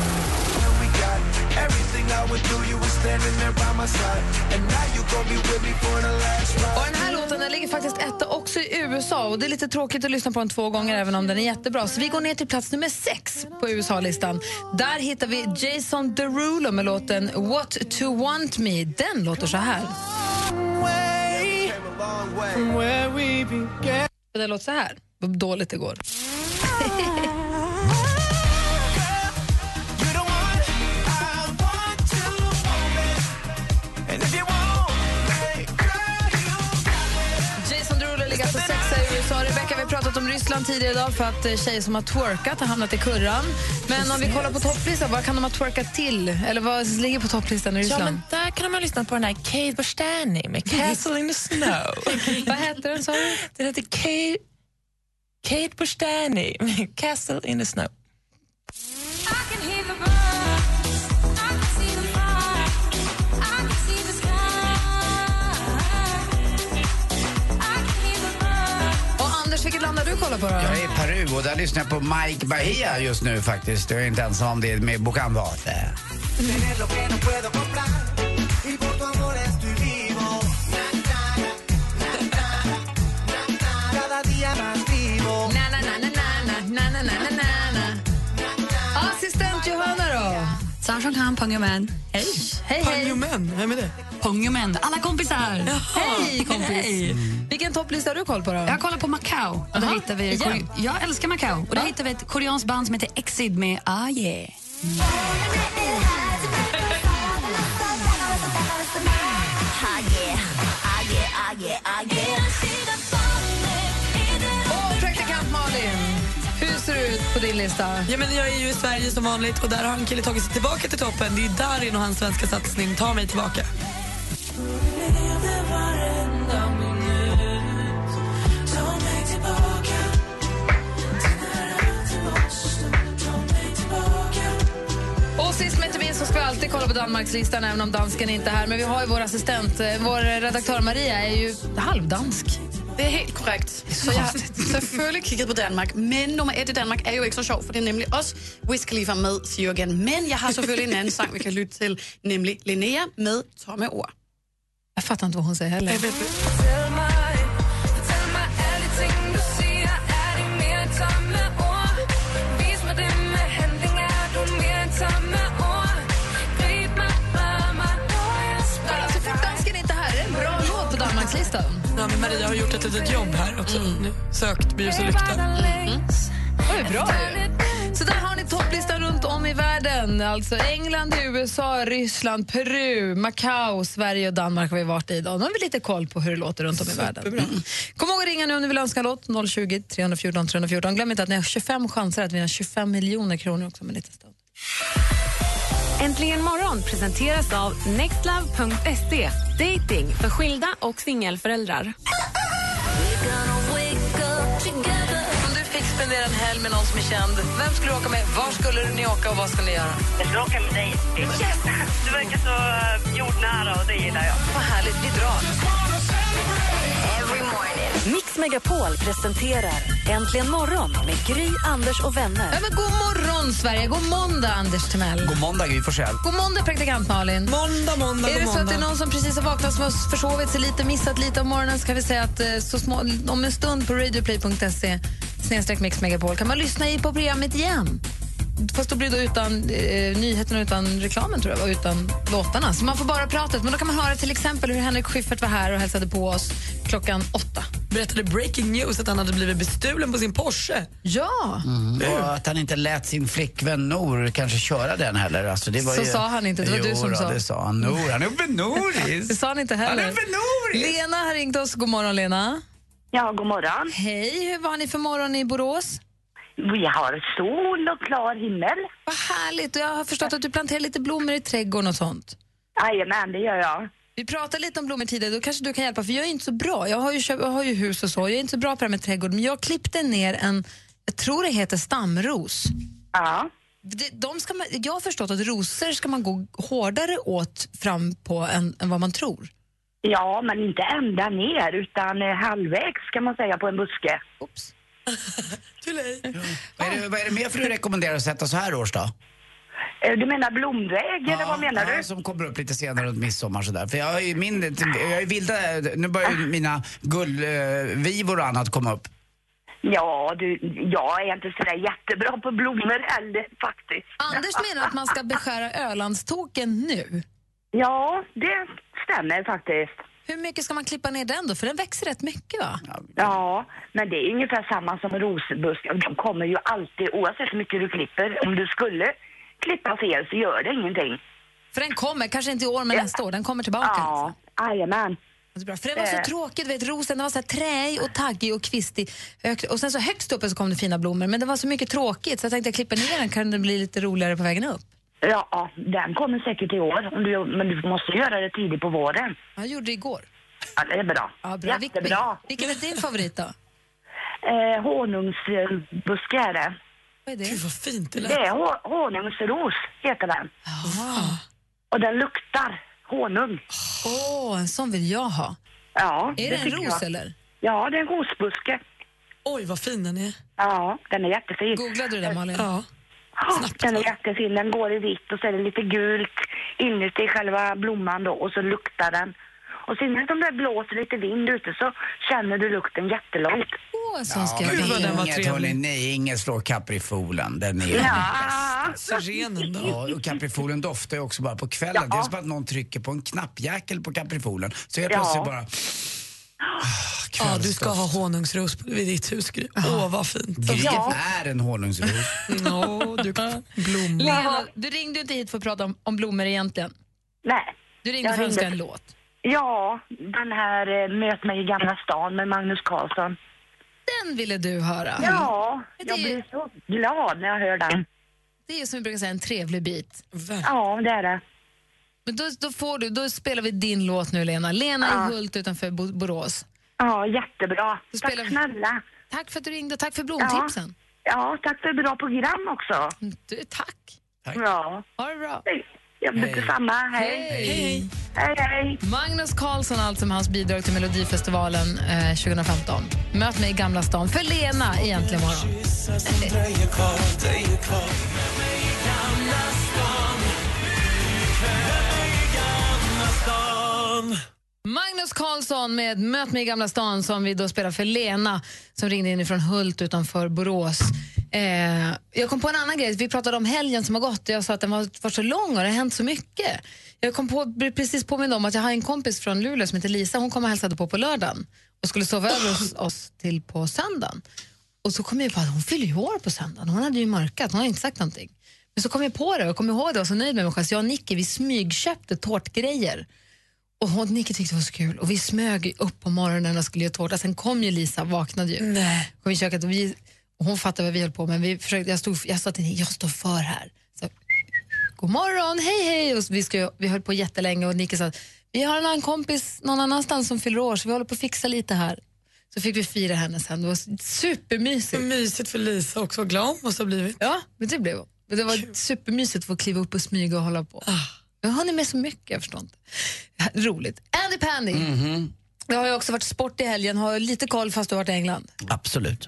Och den här låten den ligger faktiskt etta också i USA och det är lite tråkigt att lyssna på den två gånger även om den är jättebra. Så vi går ner till plats nummer sex på USA-listan. Där hittar vi Jason Derulo med låten What to want me. Den låter så här. Och Den låter så här. Vad dåligt det går. [LAUGHS] Jason Derulo ligger på sexa i USA. Rebecca, vi har pratat om Ryssland tidigare idag för att eh, tjejer som har twerkat har hamnat i kurran. Men om vi kollar på topplistan, vad kan de ha twerkat till? Eller vad ligger på topplistan i Ja, Ryssland? men där kan de ha lyssnat på den här Kate Borstani med Castle in the Snow. [LAUGHS] Vad heter den, sa du? Den heter Kate, Kate Borstani med Castle in the Snow. Och Anders, vilket land har du kollat på då? Jag är i Peru och där lyssnar jag på Mike Bahia just nu faktiskt. Jag är inte ensam om det med Bocandate. Assistent Johanna då? Samsung Han, Pangyomen. Hej. Hej, hej. Pangyomen, vem är det? Pangyomen, alla kompisar. Hej, kompis. Hej. Vilken topplista har du koll på då? Jag kollar på Macau. Och där hittar vi igen. kore- jag älskar Macau. Och där hittar vi ett koreanskt band som heter Exid med Ah Yeah. Och praktikant Malin, hur ser det ut på din lista? Ja, men jag är ju i Sverige som vanligt och där har en kille tagit sig tillbaka till toppen. Det är Darin och hans svenska satsning Ta mig tillbaka. Och sist men inte minst så ska vi alltid kolla på Danmarkslistan även om dansken inte är här. Men vi har ju vår assistent, eh, vår redaktör Maria är ju halvdansk. Det er helt korrekt. Så jeg har selvfølgelig kigget på Danmark. Men nummer et i Danmark er jo ikke så sjov, for det er nemlig også Wiz Khalifa med Sjørgen. Men jeg har selvfølgelig en anden sang, vi kan lytte til, nemlig Linnea med Tomme Ord. Jeg fatter ikke, hvad hun siger heller. Alltså, för dansken är inte här. Det är en bra låt på Danmarkslistan. Ja, men Maria har gjort ett litet jobb här också. Mm. Nu Sökt med ljus och lykta. Mhm. Det är bra ju. Så där har ni topplistan runt om i världen. Alltså England, USA, Ryssland, Peru, Macau, Sverige och Danmark har vi varit i idag. Nu har vi lite koll på hur det låter runt om i världen. Mm. Kom ihåg att ringa nu om ni vill önska en låt. 020 314 314. Glöm inte att ni har 25 chanser att vinna 25 miljoner kronor också om en liten stund. Äntligen morgon presenteras av nextlove.se. Dating för skilda och singelföräldrar. Om du fick spendera en helg med någon som är känd, vem skulle du åka med? Var skulle ni åka och vad skulle ni göra? Jag skulle åka med dig. Du verkar så eh, jordnära och det gillar jag. Vad härligt, vi drar. Mix Megapol presenterar Äntligen morgon med Gry, Anders och vänner. Ja, men god morgon, Sverige. God måndag, Anders Timell. God måndag Gry Forssell. God måndag, praktikant Malin. Måndag, måndag, Är det god så att det är måndag. någon som precis har vaknat som har försovit sig lite, missat lite om morgonen så kan vi säga att eh, så små, om en stund på radioplay.se snedstreck Mix Megapol kan man lyssna i på programmet igen. Fast då blir det utan eh, nyheterna, utan reklamen tror jag, och utan låtarna. Så man får bara pratet. Men då kan man höra till exempel hur Henrik Schyffert var här och hälsade på oss klockan åtta. berättade breaking news att han hade blivit bestulen på sin Porsche. Ja. Mm. Och att han inte lät sin flickvän Nor kanske köra den heller. Alltså, det var Så ju... sa han inte, det var jo, du som då, sa. det sa han. Nor, han är benoris. Det [LAUGHS] sa han inte heller. Han är Lena har ringt oss. God morgon, Lena. Ja, god morgon. Hej, hur var ni för morgon i Borås? Vi har sol och klar himmel. Vad härligt. Och jag har förstått att du planterar lite blommor i trädgården och sånt. Jajamän, det gör jag. Vi pratade lite om blommor tidigare, då kanske du kan hjälpa för jag är inte så bra. Jag har ju, köpt, jag har ju hus och så, jag är inte så bra på det här med trädgård. Men jag klippte ner en, jag tror det heter stamros. Ja. De, de ska man, jag har förstått att rosor ska man gå hårdare åt fram på än, än vad man tror. Ja, men inte ända ner, utan eh, halvvägs kan man säga på en buske. Oops. Vad, är det, vad är det mer för du rekommenderar att sätta så här års då? Eh, Du menar blomväg, eller vad menar ja, du? som kommer upp lite senare runt midsommar sådär. För jag har ju min, jag är vilda, nu börjar ju mina gullvivor och annat komma upp. Ja, du, jag är inte sådär jättebra på blommor heller faktiskt. Anders menar att man ska beskära Ölandståken nu. Ja, det stämmer faktiskt. Hur mycket ska man klippa ner den då? För den växer rätt mycket va? [LAUGHS] Ja, men det är ungefär samma som rosbuskar. De kommer ju alltid, oavsett hur mycket du klipper, om du skulle klippa fel så gör det ingenting. För den kommer, kanske inte i år men nästa år, den kommer tillbaka. alltså. Ja, jajamän. Eh. För det var så tråkigt, du vet, rosen den var så här träig och taggig och kvistig. Högt- Och sen så högst upp så kom det fina blommor, men det var så mycket tråkigt så jag tänkte jag klipper ner den kan den bli lite roligare på vägen upp. Ja, den kommer säkert i år, om du, men du måste göra det tidigt på våren. Jag gjorde det igår. Ja, det är bra. Ja, bra. Vil- Jättebra. vil- Vilken är din favorit då? Eh, honungsbuske är det. Vad är det? Gud vad fint Det är hon- honungsros, heter den. Och den luktar honung. Åh, en sån vill jag ha. Ja, Är det en tycker ros, jag. eller? Ja, det är en rosbuske. Oj, vad fin den är. Ja, den är jättefin. Googlade du den, Malin? Ja. Den är jättefin. Den går i vitt och så är det lite gult inuti själva blomman då och så luktar den. Och sen om det blåser lite vind ute så känner du lukten jättelångt. Åh, så ska jag men vilja. inget, hörni, nej, inget slår kaprifolen. Den är ju Ja. Sirenen Ja, och kaprifolen doftar ju också bara på kvällen. Det är som att någon trycker på en knappjäkel på kaprifolen. Så helt Ja. plötsligt bara... Ja, du ska ha honungsros på- vid ditt hus, Gry. Åh, vad fint. Vilket är en [LAUGHS] honungsros? Nå, du kan Mm. blomma. Lena, du ringde ju inte hit för att prata om, om blommor egentligen. Nej. Du ringde Jag för att önska en ringde- låt. Ja, den här eh, Möt mig i Gamla stan med Magnus Carlsson. Den ville du höra. Ja, Men jag Mm. det, är, blir så glad när jag hör den. det är som vi brukar säga en trevlig bit. Ja, det är det. Men då, då, får du, då spelar vi din låt nu, Lena. Lena Ja. i Hult utanför Bo- Borås. Ja, jättebra. Då Tack spelar vi- snälla. Tack för att du ringde och tack för blomtipsen. Ja, ja tack för ett bra program också. Du, tack. Ja. Ha det bra. Jag Hej. Detsamma. Hej. Hej. Hej, hej. Magnus Karlsson, allt som hans bidrag till Melodifestivalen eh, 2015. Möt mig i Gamla stan för Lena egentligen imorgon. Magnus Karlsson med Möt mig i Gamla stan som vi då spelar för Lena som ringde in från Hult utanför Borås. Eh, jag kom på en annan grej. Vi pratade om helgen som har gått och jag sa att den var, var så lång och det har hänt så mycket. Jag kom på, blev precis påmind om att jag har en kompis från Luleå som heter Lisa. Hon kom och hälsade på på lördagen och skulle sova över hos oss till på söndagen. Och så kom jag på att hon fyller ju år på söndagen. Hon hade ju mörkat, hon har inte sagt någonting. Men så kom jag på det och jag kom ihåg det och var så nöjd med mig själv. Så jag och Nicky vi smygköpte tårtgrejer. Och hon, Nicky tyckte det var så kul och vi smög upp på morgonen och skulle göra tårta. Sen kom ju Lisa, vaknade ju. Nej. Kom i köket och vi, och hon fattade vad vi höll på med. Vi försökte, jag, stod, jag sa till henne, jag står för här. Så, God morgon, hej hej! Och så vi, skulle, vi höll på jättelänge och Nicky sa att vi har en annan kompis någon annanstans som fyller år så vi håller på att fixa lite här. Så fick vi fira henne sen. Det var supermysigt. Mysigt för Lisa också. Glad hon måste ha blivit. Ja, men det blev hon. Men Det var supermysigt att få kliva upp och smyga och hålla på. Jag har ni med så mycket, jag förstår inte. Roligt. Andy Pandy. Det har ju också varit sport i helgen. Har lite koll fast du har varit i England. Absolut.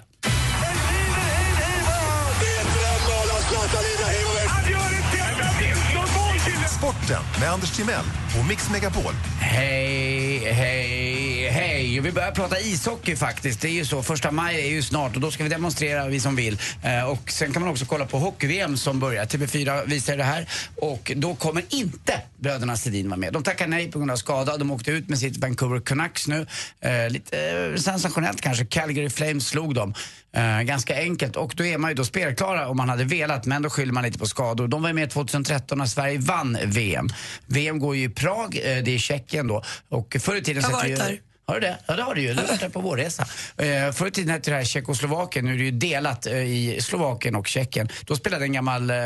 Sporten med Anders Timell och Mix Megapol. Hej, hej, hej. ishockey. Och vi börjar prata ishockey faktiskt. Det är ju så, första maj är ju snart och då ska vi demonstrera, vi som vill. Eh, och sen kan man också kolla på hockey-VM som börjar. TV4 visar det här. Och då kommer inte bröderna Sedin vara med. De tackar nej på grund av skada. De åkte ut med sitt Vancouver Canucks nu. Eh, lite eh, sensationellt kanske. Calgary Flames slog dem. Eh, ganska enkelt. Och då är man ju då spelklara om man hade velat, men då skyller man lite på skador. De var ju med 2013 när Sverige vann VM. VM går ju i Prag, eh, det är Tjeckien då. Och förr i tiden Jag har sätter ju- varit där. har du det? Ja, det har du ju. Du har varit där på vårresa. Eh, förr i tiden hette det här Tjeckoslovakien. Nu är det ju delat eh, i Slovakien och Tjeckien. Då spelade en gammal eh,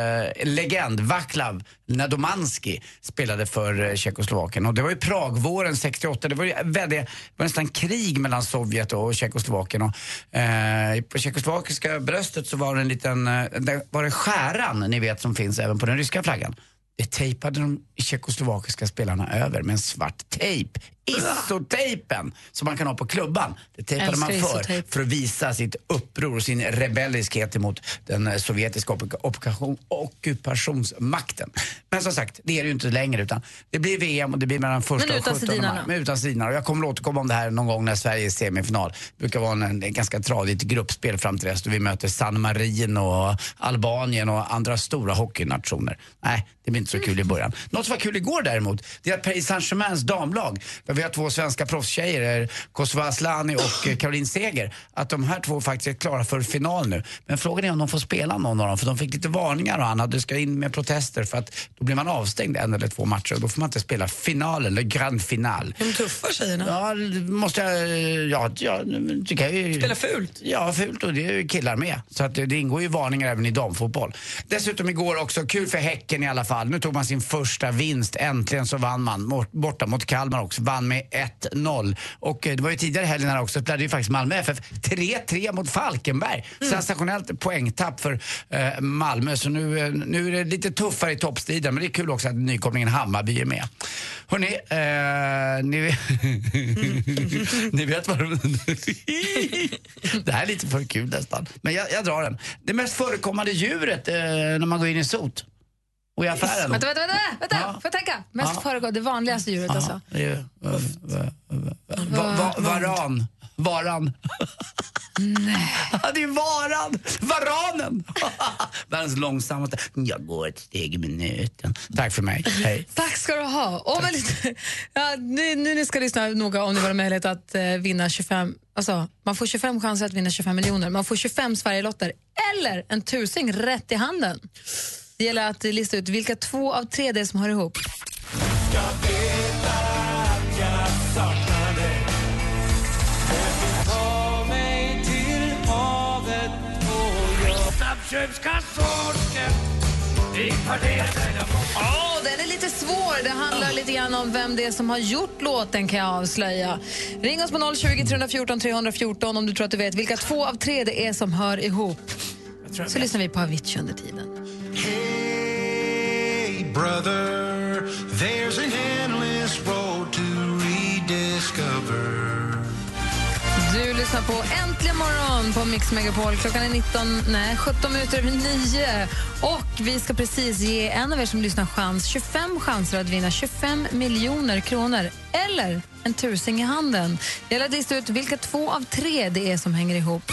legend, Vaclav Nadomanski, spelade för eh, Tjeckoslovakien. Och det var ju Pragvåren 68. Det var ju väldigt, det var nästan krig mellan Sovjet och Tjeckoslovakien. Och, eh, på tjeckoslovakiska bröstet så var det en liten, eh, där var det skäran ni vet som finns även på den ryska flaggan. Det tejpade de tjeckoslovakiska spelarna över med en svart tejp. Isotejpen som man kan ha på klubban. Det tejpade man Älskar för, isotejp. för att visa sitt uppror och sin rebelliskhet emot den eh, sovjetiska opp- ockupation, ockupationsmakten. Men som sagt, det är det ju inte längre utan det blir VM och det blir mellan första Men och utan 17 Sedinarna. maj. Men utan Sedinarna. Och Jag kommer att återkomma om det här någon gång när Sverige är i semifinal. Det brukar vara en, en ganska tradigt gruppspel fram till dess då vi möter San Marino och Albanien och andra stora hockeynationer. Nej, det blir inte så kul i början. Något som var kul igår däremot, det är att Paris Saint-Germains damlag, där vi har två svenska proffstjejer, eh, Kosova Asllani och eh, Caroline Seger, att de här två faktiskt är klara för final nu. Men frågan är om de får spela någon av dem, för de fick lite varningar och annat. Du ska in med protester för att då blir man avstängd en eller två matcher och då får man inte spela finalen, eller grand final. De tuffa tjejerna. Ja, måste jag... Ja, ja, det kan ju... Spela fult. Ja, fult och det är ju killar med. Så att det, det ingår ju varningar även i damfotboll. Dessutom igår också, kul för Häcken i alla fall. Nu tog man sin första vinst. Äntligen så vann man. Mort, borta mot Kalmar också. Vann med 1-0. Och eh, det var ju tidigare i helgen här också, spelade ju faktiskt Malmö FF 3-3 mot Falkenberg. Sensationellt poängtapp för eh, Malmö. Så nu, eh, nu är det lite tuffare i toppstriden. Men det är kul också att nykomlingen Hammarby är med. Hörrni, eh, [LAUGHS] ni, vet- [LAUGHS] ni vet vad Det här är lite för kul nästan. Men jag, jag drar den. Det mest förekommande djuret eh, när man går in i sot och i affären. Vänta, vänta, vänta! vänta. Får jag tänka? Mest Ja. föregå, det vanligaste djuret alltså. Det är ju, eh, va- va- va- Varan. Varan. Nej. [LAUGHS] Ja, det är varan! Varanen! [LAUGHS] Världens långsammaste. Jag går ett steg i minuten. Tack för mig. Hej. Tack ska du ha. Och väl, ja, nu, nu ni ska lyssna noga om det var möjlighet att eh, vinna 25... Alltså, man får 25 chanser att vinna 25 miljoner. Man får 25 Sverigelotter eller en tusing rätt i handen. Det gäller att lista ut vilka två av tre det är som hör ihop. Åh, den är lite svår. Det handlar lite grann om vem det är som har gjort låten kan jag avslöja. Ring oss på 020 314 314 om du tror att du vet vilka två av tre det är som hör ihop. Så lyssnar vi på Avicii under tiden. Hey, brother, there's an endless road to rediscover. Du lyssnar på Äntligen morgon på Mix Megapol. Klockan är 19, nej, 17 minuter över 9. Och vi ska precis ge en av er som lyssnar chans, 25 chanser att vinna 25 miljoner kronor eller en tusing i handen. Det gäller att lista ut vilka två av tre det är som hänger ihop.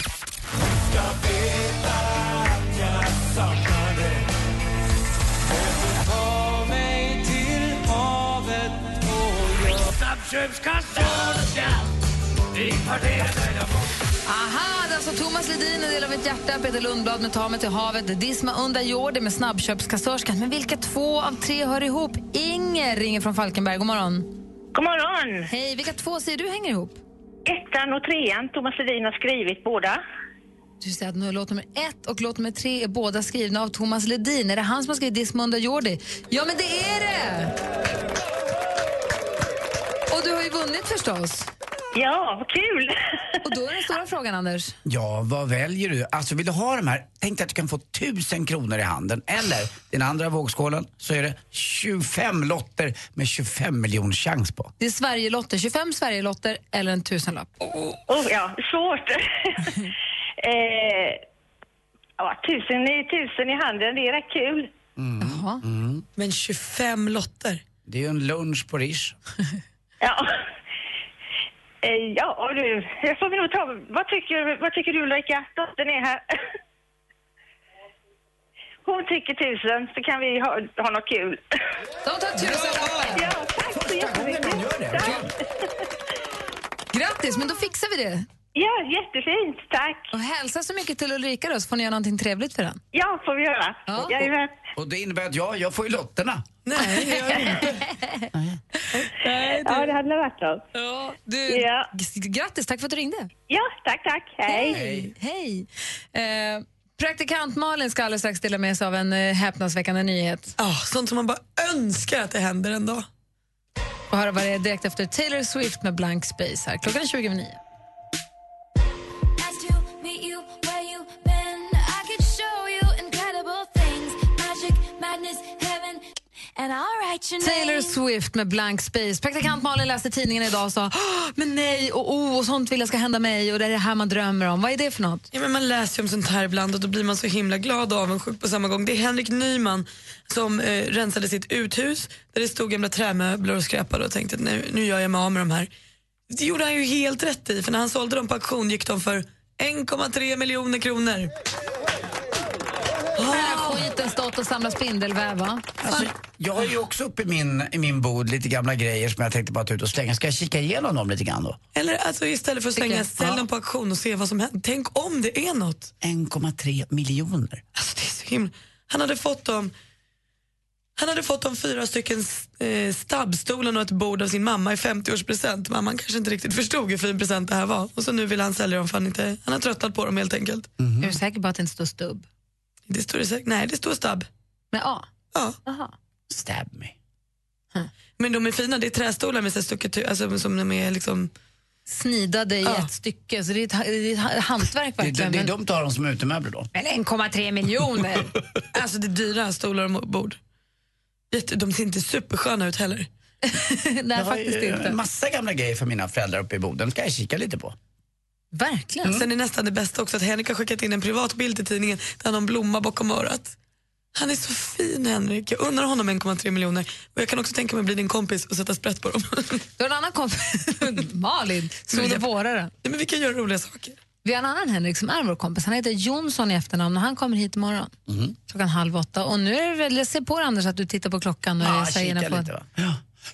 Aha, det är alltså Thomas Ledin, en del av ett hjärta, Peter Lundblad med Ta mig till havet, Disma Unda Jordi med Snabbköpskassörskan. Men vilka två av tre hör ihop? Inger ringer från Falkenberg. God morgon. God morgon. Hej, vilka två säger du hänger ihop? Ettan och trean, Thomas Ledin har skrivit båda. Du säger att nu låt nummer ett och låt nummer tre är båda skrivna av Thomas Ledin. Är det han som har skrivit Disma Unda Jordi? Ja, men det är det! Och du har ju vunnit förstås. Ja, vad kul! Och då är den stora frågan, Anders. Ja, vad väljer du? Alltså vill du ha de här, tänk dig att du kan få tusen kronor i handen. Eller, den andra vågskålen, så är det 25 lotter med 25 miljoner chans på. Det är Sverigelotter, 25 Sverigelotter eller en tusenlapp. Oh, ja, svårt. eh, ja, tusen, i- tusen i handen, det är rätt kul. Mm. Jaha. Men 25 lotter. Det är ju en lunch på Rish. Ja. Eh, Ja, du, jag får vi nog ta. Vad tycker, vad tycker du Ulrika? Dottern är här. [LAUGHS] Hon tycker tusen, så kan vi ha, ha något kul. De tar tusenlappen! Ja, tack så jättemycket. [LAUGHS] Grattis, men då fixar vi det. Ja, jättefint. Tack. Och hälsa så mycket till Ulrika då, så får ni göra någonting trevligt för den. [LAUGHS] Ja, får vi göra. Ja. Jajamän. Och det innebär att jag, jag får ju lotterna. Nej, det gör inte. Ja, det hade varit något. Ja, du, Ja. g- Grattis, tack för att du ringde. Ja, tack, tack. Hej. Hej. Eh, praktikant Malin ska alldeles strax dela med sig av en eh, häpnadsväckande nyhet. Ja, sånt som man bara önskar att det händer en dag. Och höra vad det är direkt efter Taylor Swift med Blank Space här. Klockan är 20 över nio. Nice to meet you where you been. I could show you incredible things. Magic, madness, heaven, and I'll write your Taylor name. Swift med Blank Space. Praktikant Malin läste tidningen idag och sa "Åh, men nej och oh, och sånt vill jag ska hända mig och det är det här man drömmer om. Vad är det för något? Ja, men man läser ju om sånt här ibland och då blir man så himla glad och avundsjuk på samma gång. Det är Henrik Nyman som eh, rensade sitt uthus där det stod gamla trämöbler och skräpade och tänkte nu, nu gör jag mig av med de här. Det gjorde han ju helt rätt i för när han sålde dem på auktion gick de för 1,3 miljoner kronor. Har den här skiten stått och samlat spindelväv va? Alltså, [LAUGHS] jag har ju också uppe i min, i min bod lite gamla grejer som jag tänkte bara ta ut och slänga. Ska jag kika igenom dem lite grann då? Eller alltså istället för att Tycker slänga, jag. ställ Ja. dem på auktion och se vad som händer. Tänk om det är något. 1,3 miljoner. Alltså det är så himla... Han hade fått dem han hade fått de fyra stycken eh, stabbstolen och ett bord av sin mamma i 50-årspresent. Mamman kanske inte riktigt förstod hur fin present det här var. Och så nu vill han sälja dem för han, inte, han har tröttnat på dem helt enkelt. Mm. Mhm. Är du säker på att det inte står stubb? Det står det säkert, nej det står stabb. Med A? Ja. Stab me. Men de är fina, det är trästolar med så här stuckatur, alltså som de är liksom... Snidade i ett stycke, så det är ett, ha- det är ett ha- hantverk Det, det, verkligen. det är men- dumt att ha dem som utemöbler då. Men 1,3 [LAUGHS] miljoner! Alltså det är dyra stolar och bord. Jätte, de ser inte supersköna ut heller. Nej, jag har faktiskt ju inte. en massa gamla grejer för mina föräldrar uppe i Boden. ska jag kika lite på. Verkligen. Mm. Sen är nästan det bästa också att Henrik har skickat in en privat bild till tidningen där han har en blomma bakom örat. Han är så fin Henrik. Jag undrar honom 1,3 miljoner. Och jag kan också tänka mig att bli din kompis och sätta sprätt på dem. Du har en annan kompis, [LAUGHS] Malin, sol och vårare. Nej, men vi kan göra roliga saker. Vi har en annan Henrik som är vår kompis. Han heter Jonsson i efternamn och han kommer hit imorgon klockan halv åtta. Och nu är det väl, jag ser på dig Anders att du tittar på Ah, klockan och Ja, är säger kika på... lite, va?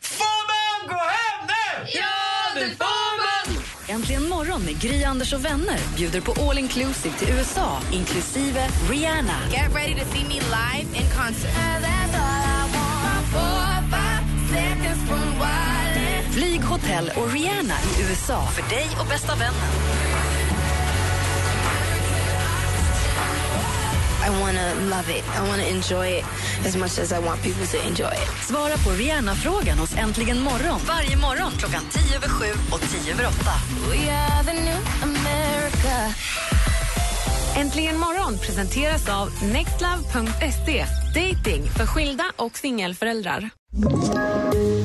Får man gå hem nu? Ja, det får man! Äntligen morgon med Gry, Anders och vänner bjuder på all inclusive till USA, inklusive Rihanna. Get ready to see me live in concert. Flyg, hotell och Rihanna i USA för dig och bästa vännen. I want to love it. I want to enjoy it as much as I want people to enjoy it. Svara på Rihanna-frågan hos Äntligen morgon varje morgon klockan 10 över 7 och 10 över 8. We are the new America. Äntligen morgon presenteras av nextlove.se. Dating för skilda och singelföräldrar.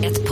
Ett